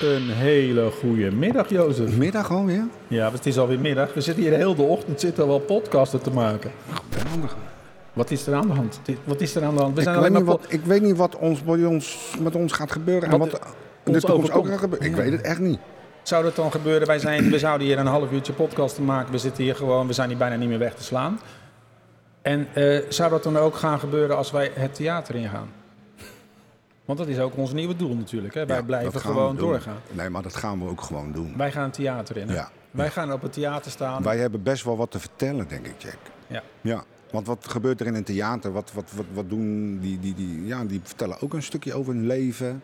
Een hele goede middag, Jozef. Middag alweer? Ja, want het is alweer middag. We zitten hier heel de ochtend zitten we al podcasten te maken. Geweldig. Wat is er aan de hand? Dit- Wat is er aan de hand? We Ik zijn weet, alleen niet maar... wat, ik weet niet wat ons, bij ons, met ons gaat gebeuren en Wat wat, in de ons toekomst ook overkomt. gaat gebeuren. Ik Ja. weet het echt niet. po- Zou dat dan gebeuren? Wij zijn, we zouden hier een half uurtje podcast te maken. We zitten hier gewoon, we zijn hier bijna niet meer weg te slaan. En eh, zou dat dan ook gaan gebeuren als wij het theater ingaan? Want dat is ook ons nieuwe doel natuurlijk. Hè? Wij Ja, blijven dat gaan gewoon we doen. doorgaan. Nee, maar dat gaan we ook gewoon doen. Wij gaan het theater in. hè? Ja. Wij gaan op het theater staan. Wij hebben best wel wat te vertellen, denk ik, Jack. Ja. Ja. Want wat gebeurt er in een theater? Wat, wat, wat, wat doen die, die, die, ja, die vertellen ook een stukje over hun leven.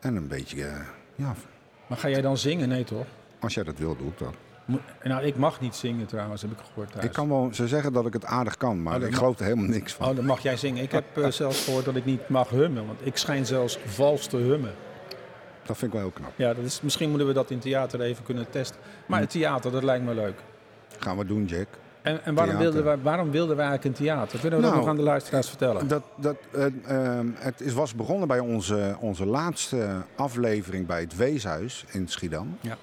En een beetje, eh, ja, Maar ga jij dan zingen? Nee toch? als jij dat wil, doe ik dat. Moet- Nou, ik mag niet zingen trouwens, heb ik gehoord thuis. Ik kan wel, ze zeggen dat ik het aardig kan, maar Oh, dat ik mag- geloof er helemaal niks van. Oh, dan mag jij zingen. Ik heb eh, zelfs gehoord dat ik niet mag hummen, want ik schijn zelfs vals te hummen. Dat vind ik wel heel knap. Ja, dat is, misschien moeten we dat in theater even kunnen testen. Maar het theater, dat lijkt me leuk. Gaan we doen, Jack. En, en waarom, Theater. wilden wij, waarom wilden wij eigenlijk een theater? Kunnen we dat Nou, nog aan de luisteraars vertellen? Dat, dat, eh, ehm, het is, was begonnen bij onze, onze laatste aflevering bij het Weeshuis in Schiedam. Ja.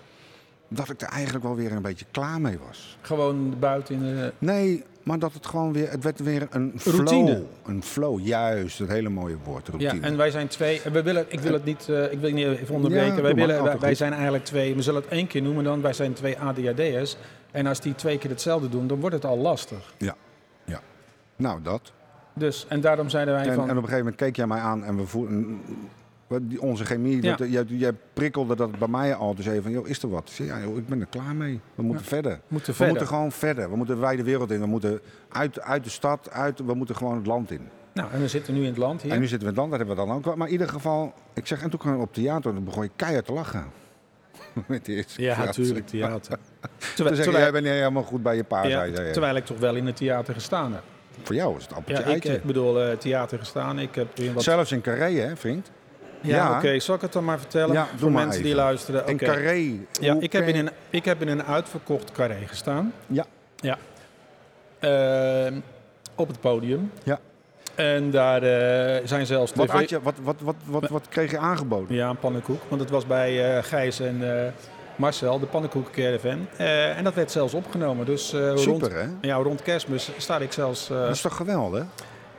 Dat ik er eigenlijk wel weer een beetje klaar mee was. Gewoon buiten in de... Nee, maar dat het gewoon weer... Het werd weer een flow. Routine. Een flow, juist. Dat hele mooie woord, Ja, routine. en wij zijn twee. en We willen, ik wil het niet, eh, ik wil niet even onderbreken. Ja, doe wij, maar, willen, altijd wij, wij goed. zijn eigenlijk twee, we zullen het één keer noemen dan. Wij zijn twee ADHD'ers. En als die twee keer hetzelfde doen, dan wordt het al lastig. Ja, ja. Nou, dat. Dus, en daarom zeiden wij En, en op van... een gegeven moment keek jij mij aan en we voelden... we- die- Onze chemie, Ja. dat, jij, jij prikkelde dat bij mij al. Dus even, joh, is er wat? Ik zei, Ja, joh, ik ben er klaar mee. We moeten verder. Moeten We verder. moeten gewoon verder. We moeten de wijde wereld in. We moeten uit, uit de stad, uit, we moeten gewoon het land in. Nou, en we zitten nu in het land hier. En nu zitten we in het land, dat hebben we dan ook. wel. Maar in ieder geval, ik zeg, en toen kwam ik op theater, dan begon je keihard te lachen. Met de eerste Ja, vraag. natuurlijk, theater. Terwijl, Toen terwijl- zei jij bent niet helemaal goed bij je pa, ja, zei hij. terwijl ik toch wel in het theater gestaan heb. Voor jou is het Ja, appeltje ik, eitje. eh, bedoel, eh, theater gestaan. Ik heb in wat... Zelfs in Carré, hè, vriend? ja, ja. oké, zal ik het dan maar vertellen? Ja, voor doe maar mensen die even. luisteren. In Oké. Carré. Ja, hoe ik heb, ken- in een, ik heb in een uitverkocht carré gestaan. Ja. Ja. Ehm, op het podium. Ja. En daar eh, zijn zelfs Wat, TV had je, wat, wat, wat, wat, wat kreeg je aangeboden? Ja, een pannenkoek. Want het was bij eh, Gijs en eh, Marcel, de pannenkoekencaravan. Eh en dat werd zelfs opgenomen. Dus eh, rond, Super, hè? ja, rond kerstmis sta ik zelfs... eh, Dat is toch geweldig?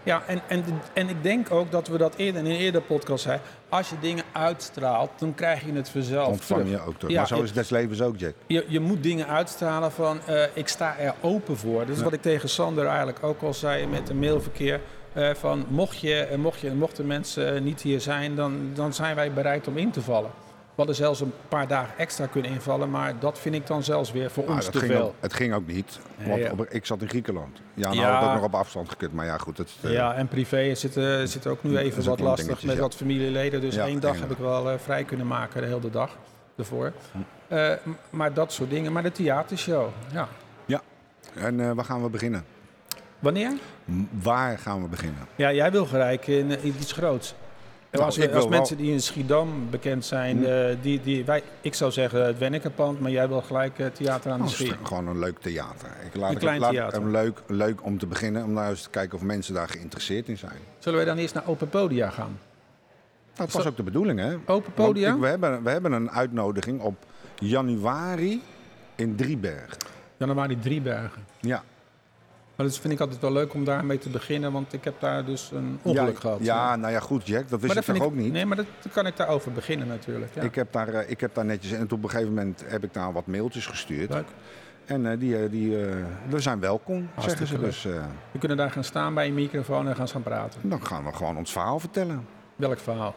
Ja, en, en, en ik denk ook dat we dat eerder in een eerder podcast zeiden. Als je dingen uitstraalt, dan krijg je het vanzelf Ontvang terug. je ook terug. Ja, maar zo ik- is het des levens ook, Jack. Je, je moet dingen uitstralen van eh, ik sta er open voor. Dat is wat ik tegen Sander eigenlijk ook al zei met de mailverkeer. eh, van mocht je, eh, mocht je, mochten mensen eh, niet hier zijn, dan, dan zijn wij bereid om in te vallen. We hadden zelfs een paar dagen extra kunnen invallen, maar dat vind ik dan zelfs weer voor Ah, ons dat te ging veel. ook- het ging ook niet, Nee, want ja. op- ik zat in Griekenland. Ja, nou Ja. had ik ook nog op afstand gekund, maar ja, goed. Het, eh, Ja, en privé zit, eh, zit ook nu Dat even is wat ook nog lastig dingetjes, met ja. wat familieleden. Dus Ja, één dag ja. heb ik wel eh, vrij kunnen maken, de hele dag ervoor. Eh, m- maar dat soort dingen. Maar de theatershow, ja. En eh, waar gaan we beginnen? Wanneer? M- Waar gaan we beginnen? Ja, jij wil gelijken in, eh, in iets groots. En Nou, als ik als wil wel- mensen die in Schiedam bekend zijn, eh, die, die, wij, ik zou zeggen het Wennekenpand, maar jij wil gelijk eh, theater aan Oh, de het is Schie. gewoon een leuk theater. Ik laat, Een klein ik, laat theater. hem leuk, leuk om te beginnen, om nou eens te kijken of mensen daar geïnteresseerd in zijn. Zullen wij dan eerst naar Open Podia gaan? Nou, dat was ook de bedoeling, hè? Open Want Podia? ik- we, hebben, we hebben een uitnodiging op januari in Driebergen. Januari Driebergen. Ja. Maar dat vind ik altijd wel leuk om daarmee te beginnen, want ik heb daar dus een ongeluk ja, gehad. Ja, nou ja, goed, Jack. Dat wist dat ik toch vind ook niet? Nee, maar dat dan kan ik daarover beginnen natuurlijk. Ja. Ik, heb daar, eh, ik heb daar netjes... En toen op een gegeven moment heb ik daar wat mailtjes gestuurd. Leuk. En eh, die, eh, die eh, we zijn welkom, zeggen Hartstikke ze. Dus eh, We kunnen daar gaan staan bij een microfoon en gaan staan praten. dan gaan we gewoon ons verhaal vertellen. Welk verhaal?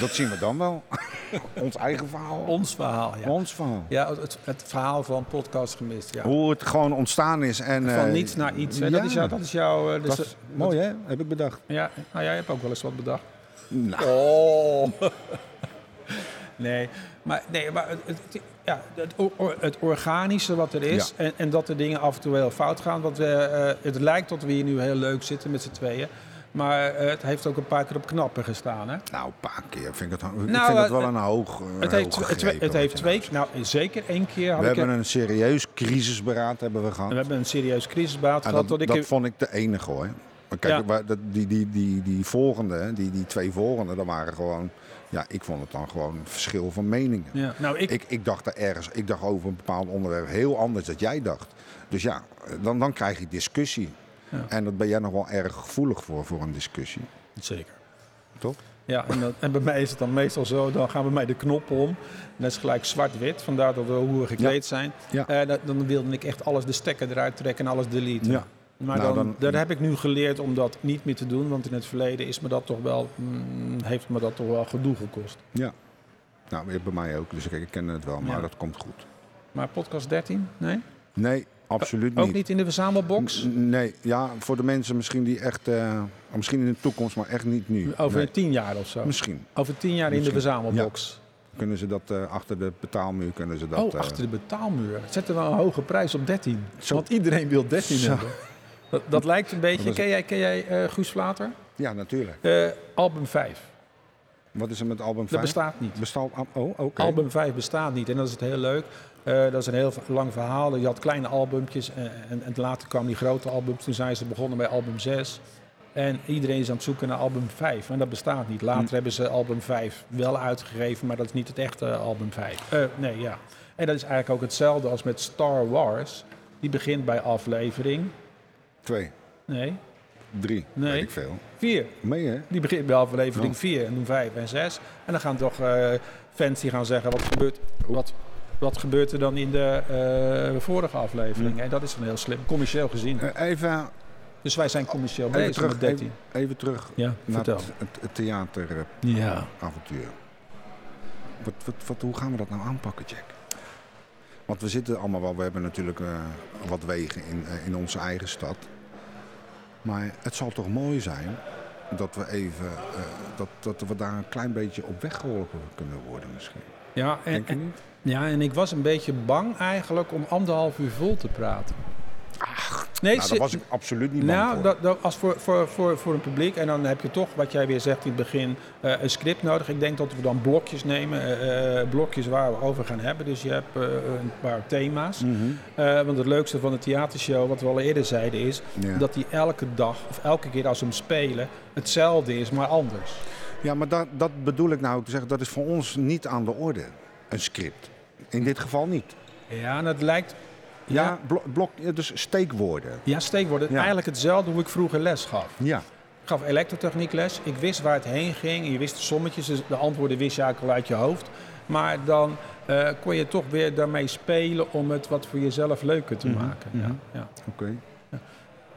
Dat zien we dan wel. Ons eigen verhaal. Ons verhaal, ja. Ons verhaal. Ja, het, het verhaal van podcast gemist, ja. Hoe het gewoon ontstaan is. En, Van eh, niets naar iets. hè. ja. Dat is jouw... Dat is jouw eh, dus Dat is dat- mooi, hè? Heb ik bedacht. Ja, nou, jij hebt ook wel eens wat bedacht. Nou. Oh. nee, maar, nee, maar het, het- ja, het, o- o- het organische wat er is en, en dat de dingen af en toe heel fout gaan. Want we, eh, het lijkt dat we hier nu heel leuk zitten met z'n tweeën. Maar eh, het heeft ook een paar keer op knappen gestaan. Hè? Nou, een paar keer vind ik het, ik Nou, vind dat eh, wel een hoog. eh, Het, hoog heeft, tw- het, gegrepen, tw- het wat heeft je twee nou zegt. nou zeker één keer had We ik hebben een serieus crisisberaad hebben we gehad. we hebben een serieus crisisbaat En gehad. Ah, dat dat ik, dat vond ik de enige hoor. Maar kijk, Ja. waar- dat, die, die, die, die volgende, hè, die, die twee volgende, dat waren gewoon. Ja, ik vond het dan gewoon een verschil van meningen. ja, nou, ik, Ik, ik dacht er ergens, ik dacht over een bepaald onderwerp heel anders dan jij dacht. Dus ja, dan, dan krijg je discussie. Ja. En dat ben jij nog wel erg gevoelig voor, voor een discussie. Zeker. Toch? Ja, en, dat- en bij mij is het dan meestal zo, dan gaan we mij de knop om. Dat is gelijk zwart-wit, vandaar dat we hoe gekleed zijn. Ja. Eh, dat- dan wilde ik echt alles de stekker eruit trekken en alles deleten. Ja. Maar Nou, dan, dan- daar heb ik nu geleerd om dat niet meer te doen, want in het verleden is me dat toch wel, mm, heeft me dat toch wel gedoe gekost. Ja. Nou, bij mij ook, dus ik, ik ken het wel, maar Ja. dat komt goed. Maar podcast 13? Nee? Nee, absoluut Ook niet in de verzamelbox? N- Nee, ja, voor de mensen misschien die echt, eh, misschien in de toekomst, maar echt niet nu. Over Nee. tien jaar of zo? Misschien Over tien jaar in Misschien. de verzamelbox? kunnen ze dat eh, achter de betaalmuur kunnen ze dat. oh, eh, achter de betaalmuur. Zetten we een hoge prijs op 13. Zo. Want iedereen wil 13 Zo. hebben. Dat, dat lijkt een beetje... Dat is- Ken jij, ken jij eh, Guus Vlater? Ja, natuurlijk. Eh, album 5. Wat is er met album 5? Dat bestaat niet. Bestaat al- oh, oké. Album 5 bestaat niet. En dat is het heel leuk. Eh, dat is een heel lang verhaal. Je had kleine albumpjes. eh, en, en later kwamen die grote albums. Toen zijn ze begonnen bij album 6. En iedereen is aan het zoeken naar album 5. En dat bestaat niet. Later Hm. hebben ze album 5 wel uitgegeven. Maar dat is niet het echte album 5. Eh, nee, ja. En dat is eigenlijk ook hetzelfde als met Star Wars. Die begint bij aflevering... Twee, Nee, drie, Nee. weet ik veel. 4. Mee, hè? Die begint bij aflevering Ja. 4 en doen 5 en 6. En dan gaan toch eh, fans die gaan zeggen, wat gebeurt, wat, wat gebeurt er dan in de eh, vorige aflevering? En dat is dan heel slim, commercieel gezien. Eh, even, Dus wij zijn commercieel even, bezig terug, met 13. even, even terug Ja, naar vertel. het, het, het eh, theateravontuur. Ja. Wat, wat, wat, hoe gaan we dat nou aanpakken, Jack? Want we zitten allemaal wel, we hebben natuurlijk eh, wat wegen in, eh, in onze eigen stad. Maar het zal toch mooi zijn dat we even, eh, dat, dat we daar een klein beetje op weggeholpen kunnen worden misschien. Ja en, Denk je en- niet? ja, en ik was een beetje bang eigenlijk om anderhalf uur vol te praten. nee, Nou, ze- daar was ik absoluut niet bang Nou, voor. dat, dat, als voor, voor, voor, voor een publiek. En dan heb je toch, wat jij weer zegt in het begin, eh, een script nodig. Ik denk dat we dan blokjes nemen. eh, eh, blokjes waar we over gaan hebben. Dus je hebt eh, een paar thema's. Mhm. Eh, want het leukste van de theatershow, wat we al eerder zeiden, is Ja. dat die elke dag of elke keer als we hem spelen hetzelfde is, maar anders. Ja, maar dat, dat bedoel ik nou ook te zeggen. Dat is voor ons niet aan de orde, een script. In dit geval niet. Ja, en het lijkt. Ja, Ja, blo- blok, ja, dus steekwoorden. ja steekwoorden. Ja. Eigenlijk hetzelfde hoe ik vroeger les gaf. Ja, Ik gaf elektrotechniekles. Ik wist waar het heen ging. Je wist de sommetjes, dus de antwoorden wist je eigenlijk al uit je hoofd. Maar dan eh, kon je toch weer daarmee spelen om het wat voor jezelf leuker te maken. mhm. Ja, ja. oké.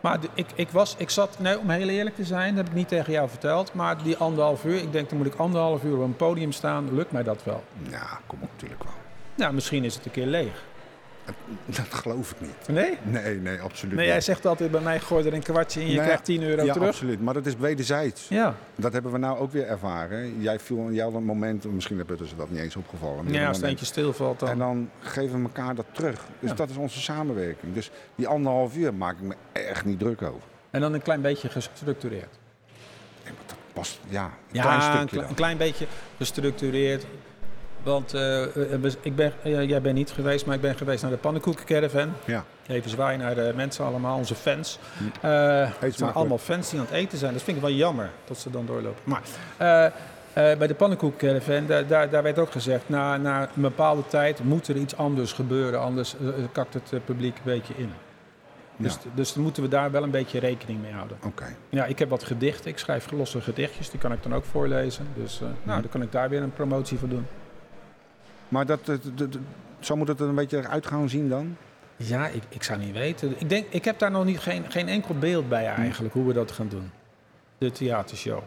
Maar de- ik, ik, was, ik zat, nee, om heel eerlijk te zijn, dat heb ik niet tegen jou verteld. Maar die anderhalf uur, ik denk dan moet ik anderhalf uur op een podium staan. Lukt mij dat wel? Ja, kom op, natuurlijk wel. Nou, misschien is het een keer leeg. Dat geloof ik niet. Nee? Nee, nee, absoluut Nee, niet. jij zegt altijd bij mij, gooi er een kwartje in, je Nee, krijgt 10 euro Nou ja, terug. absoluut. Maar dat is wederzijds. Ja, Dat hebben we nou ook weer ervaren. Jij viel aan jouw moment, misschien hebben ze dat niet eens opgevallen. maar ja een als het moment- eentje stilvalt dan. En dan geven we elkaar dat terug. Dus Ja. dat is onze samenwerking. Dus die anderhalf uur maak ik me echt niet druk over. En dan een klein beetje gestructureerd. Nee, maar dat past, ja, een Ja, klein een, stukje kle- dan. een klein beetje gestructureerd. Want eh, eh, we- ik ben, eh, jij bent niet geweest, maar ik ben geweest naar de pannenkoekencaravan. Ja. Even zwaaien naar de mensen allemaal, onze fans. Eh, het zijn Hm. smakelijk. allemaal fans die aan het eten zijn. Dat vind ik wel jammer dat ze dan doorlopen. Maar eh, eh, bij de pannenkoekencaravan, daar, daar, daar werd ook gezegd... Na, na een bepaalde tijd moet er iets anders gebeuren. Anders eh, kakt het eh, publiek een beetje in. Dus, Ja. dus dan moeten we daar wel een beetje rekening mee houden. Oké. Ja, ik heb wat gedichten. Ik schrijf losse gedichtjes. Die kan ik dan ook voorlezen. Dus eh, nou, dan kan ik daar weer een promotie voor doen. Maar dat, dat- dat- dat- zo moet het er een beetje eruit gaan zien dan? Ja, ik, ik zou niet weten. Ik, denk, ik heb daar nog niet, geen, Mhm. geen enkel beeld bij eigenlijk hoe we dat gaan doen. De theatershow.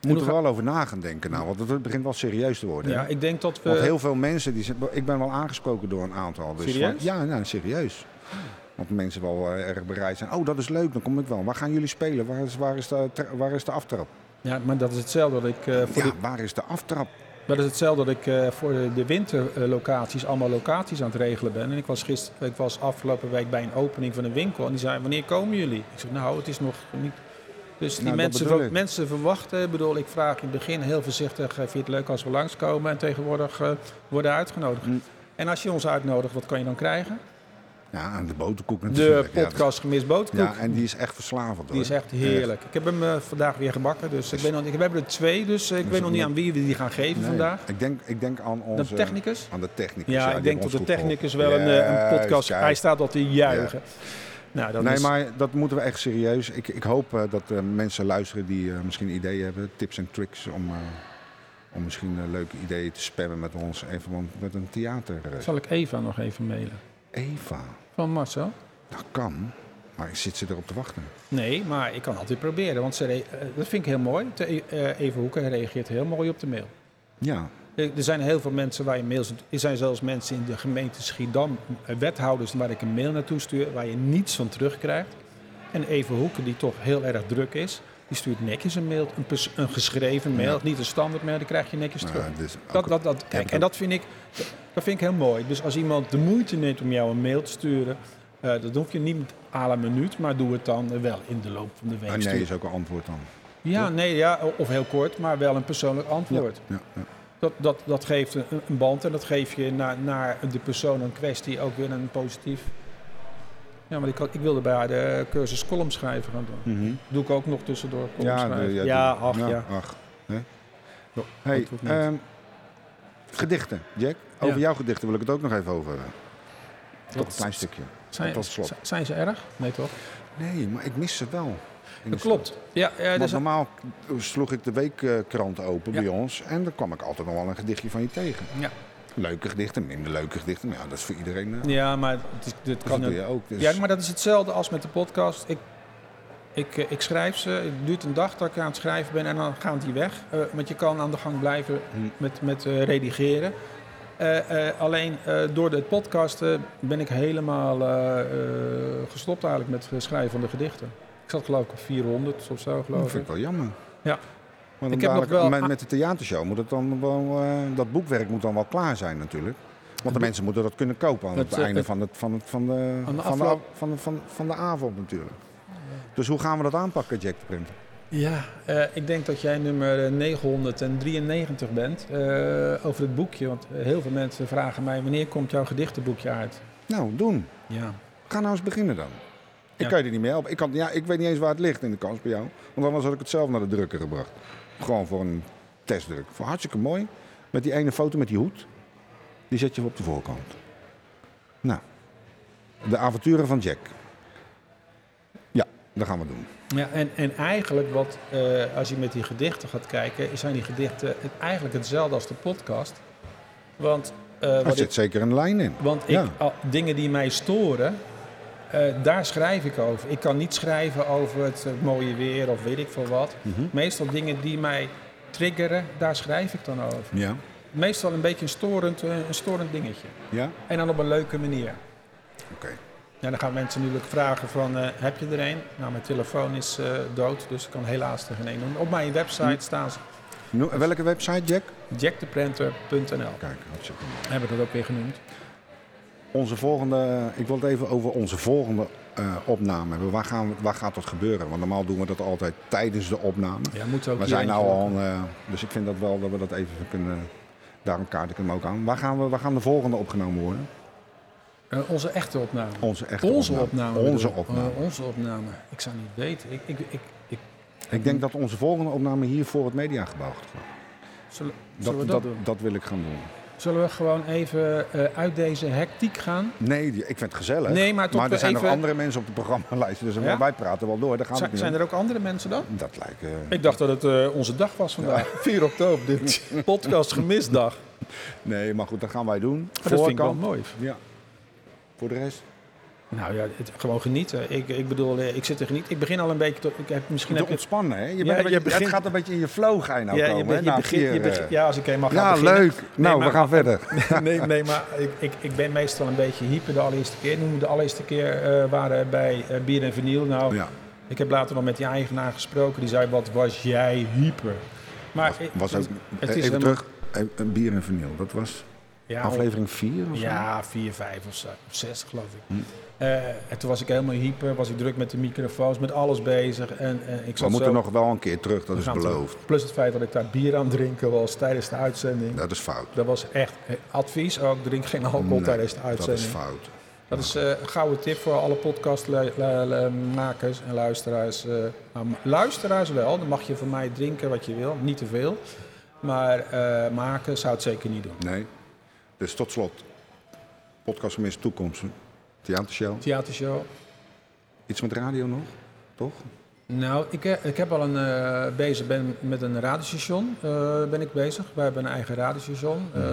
We moeten er wel over na gaan denken nou, want het begint wel serieus te worden. hè? Ja, ik denk dat we... Want heel veel mensen, die, zeggen- ik ben wel aangesproken door een aantal. Dus Serieus? van- ja, nou, serieus. Want mensen wel eh, erg bereid zijn. Oh, dat is leuk, dan kom ik wel. Waar gaan jullie spelen? Waar is, waar is, de, tra- waar is de aftrap? Ja, maar dat is hetzelfde dat ik, eh, voor, Ja, de, waar is de aftrap? dat is hetzelfde dat ik eh, voor de, de winterlocaties allemaal locaties aan het regelen ben. En ik was, gister, ik was afgelopen week bij een opening van een winkel en die zei, wanneer komen jullie? Ik zeg, nou, het is nog niet... Dus die Nou, dat mensen, bedoel ver- ik. mensen verwachten, ik bedoel, ik vraag in het begin heel voorzichtig, eh, vind je het leuk als we langskomen? En tegenwoordig eh, worden uitgenodigd. Hm. En als je ons uitnodigt, wat kan je dan krijgen? Ja, en de boterkoek De natuurlijk. Ja, dat- podcast Gemist Bootkoek. Ja, en die is echt verslavend hoor. Die is echt heerlijk. Ik heb hem eh, vandaag weer gebakken. Dus ik, Dus- ben nog, ik heb er twee, dus eh, ik Dus weet nog niet dat- aan wie we die gaan geven Nee, vandaag. Ik denk, ik denk aan De onze... technicus? Aan de technicus. Ja, die ik denk dat hebben de ons goed technicus wel geholpen. een, eh, een Juist, podcast... kijk. Hij staat al te juichen. Nou, dat Nee, is, maar dat moeten we echt serieus. Ik, ik hoop eh, dat eh, mensen luisteren die eh, misschien ideeën hebben, tips en tricks om, eh, om misschien eh, leuke ideeën te spammen met ons. Even want met een theater. eh. Zal ik Eva nog even mailen? Eva, Van Marcel? dat kan. Maar ik zit ze erop te wachten. Nee, maar ik kan altijd proberen. Want ze re- eh, dat vind ik heel mooi. Te- eh, Eva Hoeken reageert heel mooi op de mail. Ja, Eh, Er zijn heel veel mensen waar je mails... Er zijn zelfs mensen in de gemeente Schiedam, eh, wethouders... waar ik een mail naartoe stuur waar je niets van terugkrijgt. En Even Hoeken, die toch heel erg druk is... die stuurt netjes een mail, een, pers- een geschreven mail. Ja. Niet een standaard mail, die krijg je netjes nou, terug. dus ook- Dat, dat, dat, Heb kijk, ik en ook. dat vind, ik, dat vind ik heel mooi. Dus als iemand de moeite neemt om jou een mail te sturen... eh dat hoef je niet à la minuut, maar doe het dan eh, wel in de loop van de week. Ah, nee, Stuur- is ook een antwoord dan. Ja, nee, ja, of heel kort, maar wel een persoonlijk antwoord. Ja, ja. Dat, dat, dat geeft een, een band en dat geeft je naar, naar de persoon in kwestie ook weer een positief. Ja, maar ik, had- ik wilde bij haar de cursus columnschrijven gaan doen. Doe ik ook nog tussendoor Ja, columnschrijven. Mhm. de- Ja, ja, de- ach ja. Ach, hè? Hey, dat hoeft niet. ehm, gedichten, Jack. Over Ja. jouw gedichten wil ik het ook nog even over hebben. Toch een Wat- klein stukje. zijn, tot slot. z- zijn ze erg? Nee toch? Nee, maar ik mis ze wel. Dat klopt. Ja, eh, Want dus, normaal sloeg ik de weekkrant open Ja. bij ons en dan kwam ik altijd nog wel een gedichtje van je tegen. Ja. Leuke gedichten, minder leuke gedichten, maar ja, dat is voor iedereen. eh, ja, maar het, is- dit dus dat kan doe een, je ook. Dus, Ja, maar dat is hetzelfde als met de podcast. Ik, ik, eh, ik schrijf ze, het duurt een dag dat ik aan het schrijven ben en dan gaan die weg. Eh, want je kan aan de gang blijven Hm. met, met eh, redigeren. Eh, eh, alleen eh, door de podcast eh, ben ik helemaal eh, eh, gestopt eigenlijk met het schrijven van de gedichten. Ik zat geloof ik op 400 of zo dat geloof vind ik. ik wel jammer. Ja. Want Ik ik heb nog wel- met, met de theatershow moet het dan wel, eh, dat boekwerk moet dan wel klaar zijn natuurlijk. Want de boek- mensen moeten dat kunnen kopen aan Het, het, eh, einde het- van, het, van, het, van, de, Aan de van, de, afloop. av- van, de, van, van de avond natuurlijk. Dus hoe gaan we dat aanpakken, Jack de Print? Ja, eh, ik denk dat jij nummer eh, 993 bent eh, over het boekje. Want heel veel mensen vragen mij wanneer komt jouw gedichtenboekje uit? Nou, doen. Ja. Ga nou eens beginnen dan. Ik Ja. kan je er niet meer helpen. Ik, kan, ja, ik weet niet eens waar het ligt in de kans bij jou. Want anders had ik het zelf naar de drukker gebracht. Gewoon voor een testdruk. Voor hartstikke mooi. Met die ene foto met die hoed. Die zet je op de voorkant. Nou. De avonturen van Jack. Ja, dat gaan we doen. Ja, en, en eigenlijk wat, eh, als je met die gedichten gaat kijken, zijn die gedichten het, eigenlijk hetzelfde als de podcast. Want, eh, Daar wat zit ik, zeker een lijn in. want ik, ja. al- dingen die mij storen, eh, daar schrijf ik over. Ik kan niet schrijven over het eh, mooie weer of weet ik veel wat. Mhm. Meestal dingen die mij triggeren, daar schrijf ik dan over. Ja. Meestal een beetje een storend, eh, een storend dingetje. Ja? En dan op een leuke manier. Oké. Ja, dan gaan mensen natuurlijk vragen van, eh, heb je er een? Nou, mijn telefoon is eh, dood, dus ik kan helaas er geen een doen. Op mijn website staan ze, No- Welke website, Jack? jacktheprinter.nl. Kijk, hartstikke mooi. Hebben we dat ook weer genoemd. Onze volgende, ik wil het even over onze volgende eh, opname hebben. Waar, gaan we, waar gaat dat gebeuren? Want normaal doen we dat altijd tijdens de opname. Ja, moeten ook We hier zijn nou eentje al, eh, dus ik vind dat wel dat we dat even kunnen, daarom kaart ik hem ook aan. Waar gaan we, waar gaan de volgende opgenomen worden? doen. Eh, onze echte opname. Onze echte Onze opname. Onze bedoel ik. opname. Eh, onze opname. Ik zou niet weten. Ik, ik, ik, ik, Ik denk dat onze volgende opname hier voor het mediagebouw gaat. worden. zullen, zullen Dat, we dat, dat, doen? dat wil ik gaan doen. Zullen we gewoon even eh, uit deze hectiek gaan? Nee, die- ik vind het gezellig. Nee, maar toch maar er wel zijn nog even- andere mensen op de programmalijst, dus Ja? wij praten wel door. Daar gaat Zijn- het niet zijn om. er ook andere mensen dan? Dat lijkt... eh, Ik dacht dat het eh, onze dag was vandaag. 4 oktober, dit podcast gemistdag. nee, maar goed, dat gaan wij doen. Maar dat vind ik wel Voorkant. mooi. Ja. Voor de rest? Nou ja, het, gewoon genieten. Ik, ik bedoel, eh, ik zit er geniet. Ik begin al een beetje tot. Ik heb, misschien Te heb je- ontspannen, hè? Je bent Ja, een beetje- je begint- Het gaat een beetje in je flow ga je nou ja, komen, bent- hè? na begint- vier, je begint- eh, ja, als ik eenmaal ga ja, beginnen. leuk. nou, maar- we gaan verder. nee, nee, maar ik, ik, ik ben meestal een beetje hyper de allereerste keer. Noem de allereerste keer eh, waren bij eh, Bier en Vinyl. Nou, Ja, ik heb later nog met die eigenaar gesproken. Die zei, wat was jij hyper? Maar was, was ook, is even helemaal- terug. eh, Een bier en vinyl, dat was ja, aflevering 4 of zo? Ja, 4, 5 of zo. Of 6 geloof ik. Hm. Eh, en toen was ik helemaal hyper, was ik druk met de microfoons, met alles bezig. En, en ik We zat moeten zo, nog wel een keer terug, dat We is gaan terug. beloofd. Plus het feit dat ik daar bier aan het drinken was tijdens de uitzending. Dat is fout. Dat was echt eh, advies. Ook drink geen alcohol Nee, tijdens de Dat is uitzending. fout. Dat is eh, een gouden tip voor alle podcastmakers en luisteraars. eh. Nou, m- luisteraars wel, dan mag je van mij drinken wat je wil, niet te veel. Maar eh, maken zou het zeker niet doen. Nee. Dus tot slot. Podcast van Miss Toekomst. Theatershow. Theatershow. Iets met radio nog? Toch? Nou, ik, eh, ik heb al een, eh, bezig, ben met een radiostation eh, ben ik bezig. Wij hebben een eigen radiostation. Mhm. Eh,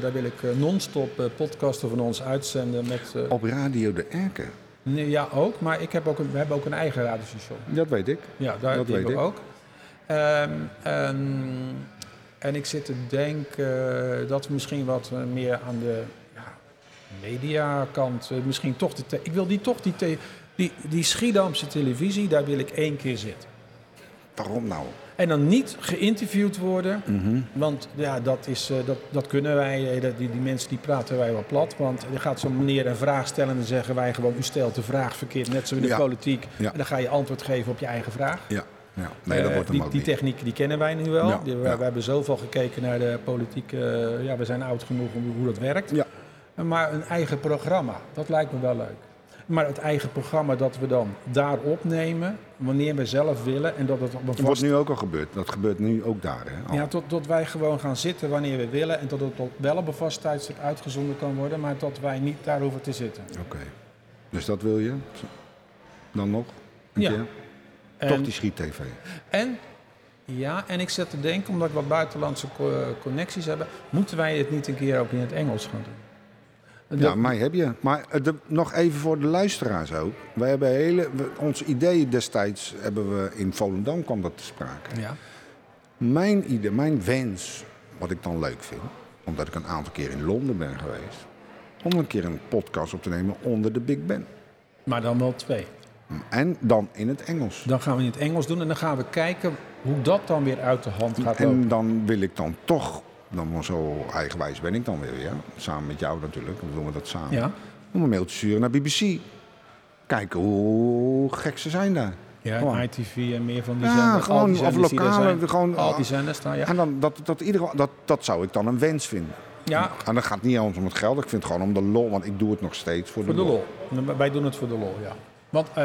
daar wil ik eh, non-stop eh, podcasten van ons uitzenden. Met, eh, Op Radio de Erken. nee, ja, ook. Maar ik heb ook een, we hebben ook een eigen radiostation. Dat weet ik. Ja, daar, Dat die weet hebben we ook. Ehm, ehm, en ik zit te denken eh, dat we misschien wat eh, meer aan de ja, mediakant, eh, misschien toch de... te- ik wil die toch die, te- die, die Schiedamse televisie, daar wil ik één keer zitten. Waarom nou? En dan niet geïnterviewd worden, Mhm. want ja, dat, is, eh, dat, dat kunnen wij, eh, dat, die, die mensen die praten wij wel plat. Want er gaat zo'n meneer een vraag stellen en dan zeggen wij gewoon, u stelt de vraag verkeerd, net zo in de Ja. politiek. Ja. En dan ga je antwoord geven op je eigen vraag. Ja. ja. Nee, dat Eh, wordt hem die, ook die niet. techniek die kennen wij nu wel. Ja, Die- we, ja. we hebben zoveel gekeken naar de politiek. eh, ja, we zijn oud genoeg om hoe dat werkt. Ja. Maar een eigen programma, dat lijkt me wel leuk. Maar het eigen programma dat we dan daar opnemen, wanneer we zelf willen. En dat het op een Dat wordt vast... nu ook al gebeurd. Dat gebeurt nu ook daar. Hè? Al. Ja, tot, tot wij gewoon gaan zitten wanneer we willen. En tot het op- wel op een vast tijdstip uitgezonden kan worden. Maar dat wij niet daar hoeven te zitten. Oké. Dus dat wil je? Dan nog? Een Ja. keer? Toch En- die schiet-tv. En, ja, en ik zit te denken, omdat ik wat buitenlandse co- eh, connecties heb, moeten wij het niet een keer ook in het Engels gaan doen? Ja, mij heb je. Maar eh, de- nog even voor de luisteraars ook. Wij hebben hele, we- ons idee destijds hebben we in Volendam kwam dat te sprake. ja. Mijn idee, mijn wens, wat ik dan leuk vind, omdat ik een aantal keer in Londen ben geweest, om een keer een podcast op te nemen onder de Big Ben. Maar dan wel twee. En dan in het Engels. Dan gaan we in het Engels doen en dan gaan we kijken hoe dat dan weer uit de hand gaat lopen. En dan wil ik dan toch, dan wel zo eigenwijs ben ik dan weer, ja, samen met jou natuurlijk, dan doen we dat samen, Ja. om een mailtje te sturen naar BBC. Kijken hoe gek ze zijn daar. Ja, Gewoon. en ITV en meer van die Ja, zenders. gewoon al die of zenders die daar lokale, zijn. gewoon- al die zenders daar, ja. En dan, dat, dat, ieder, dat, dat zou ik dan een wens vinden. Ja, En dat gaat niet eens om het geld, ik vind het gewoon om de lol, want ik doe het nog steeds voor, voor de lol. Wij doen het voor de lol, ja. Want eh,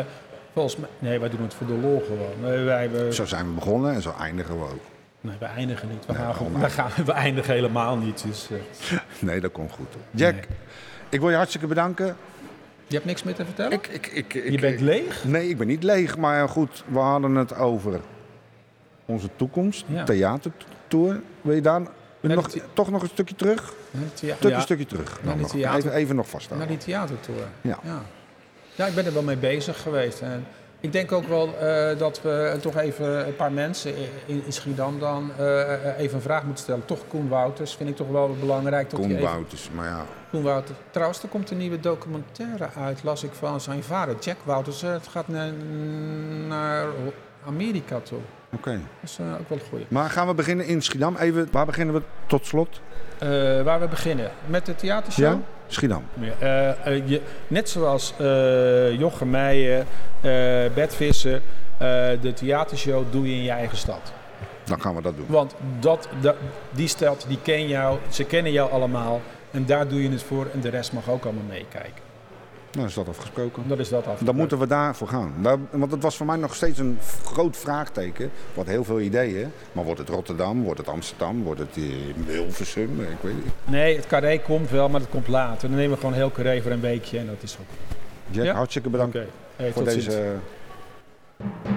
volgens mij... Nee, wij doen het voor de lol gewoon. Nee, wij, we, Zo zijn we begonnen en zo eindigen we ook. nee, we eindigen niet. We, Nee, gaan, gewoon- allemaal. we, gaan, we eindigen helemaal niet. Dus, eh, Nee, dat komt goed. Jack, Nee. ik wil je hartstikke bedanken. je hebt niks meer te vertellen? Ik, ik, ik, ik, je bent leeg? Nee, ik ben niet leeg, maar goed, we hadden het over onze toekomst, Ja. theatertour. Wil je daar nog, die- toch nog een stukje terug? Naar de thea- Stukje, ja, stukje terug. Naar Dan die nog. theater- Even, even nog Naar die vasthouden. theatertour. Ja. ja. Ja, ik ben er wel mee bezig geweest. En ik denk ook wel eh, dat we toch even een paar mensen i- in, in Schiedam dan eh, eh, even een vraag moeten stellen. Toch Koen Wouters vind ik toch wel belangrijk. Dat hij Koen even- Wouters, maar ja. Koen Wouters. Trouwens, er komt een nieuwe documentaire uit, las ik van zijn vader, Jack Wouters. Eh, Het gaat naar, naar Amerika toe. Oké. Dat is eh, ook wel een goeie. Maar gaan we beginnen in Schiedam? Even, waar beginnen we tot slot? Eh, waar we beginnen? Met de theatershow? Ja? Schiedam. Ja, eh, eh, je- net zoals eh Jochem Meijer, eh Bert Visser, eh, de theatershow doe je in je eigen stad. Dan gaan we dat doen. Want dat, dat- die stad, die ken jou, ze kennen jou allemaal. En daar doe je het voor en de rest mag ook allemaal meekijken. Nou, is dat afgesproken. Dat is dat af. Dan moeten we daarvoor gaan. Daar- want het was voor mij nog steeds een v- groot vraagteken. Wat heel veel ideeën. Maar wordt het Rotterdam? Wordt het Amsterdam? Wordt het eh, Hilversum? Ik weet niet. Nee, het carré komt wel, maar dat komt later. Dan nemen we gewoon heel carré voor een weekje en dat is ook. Jack, Ja? hartstikke bedankt Hey, voor tot ziens. deze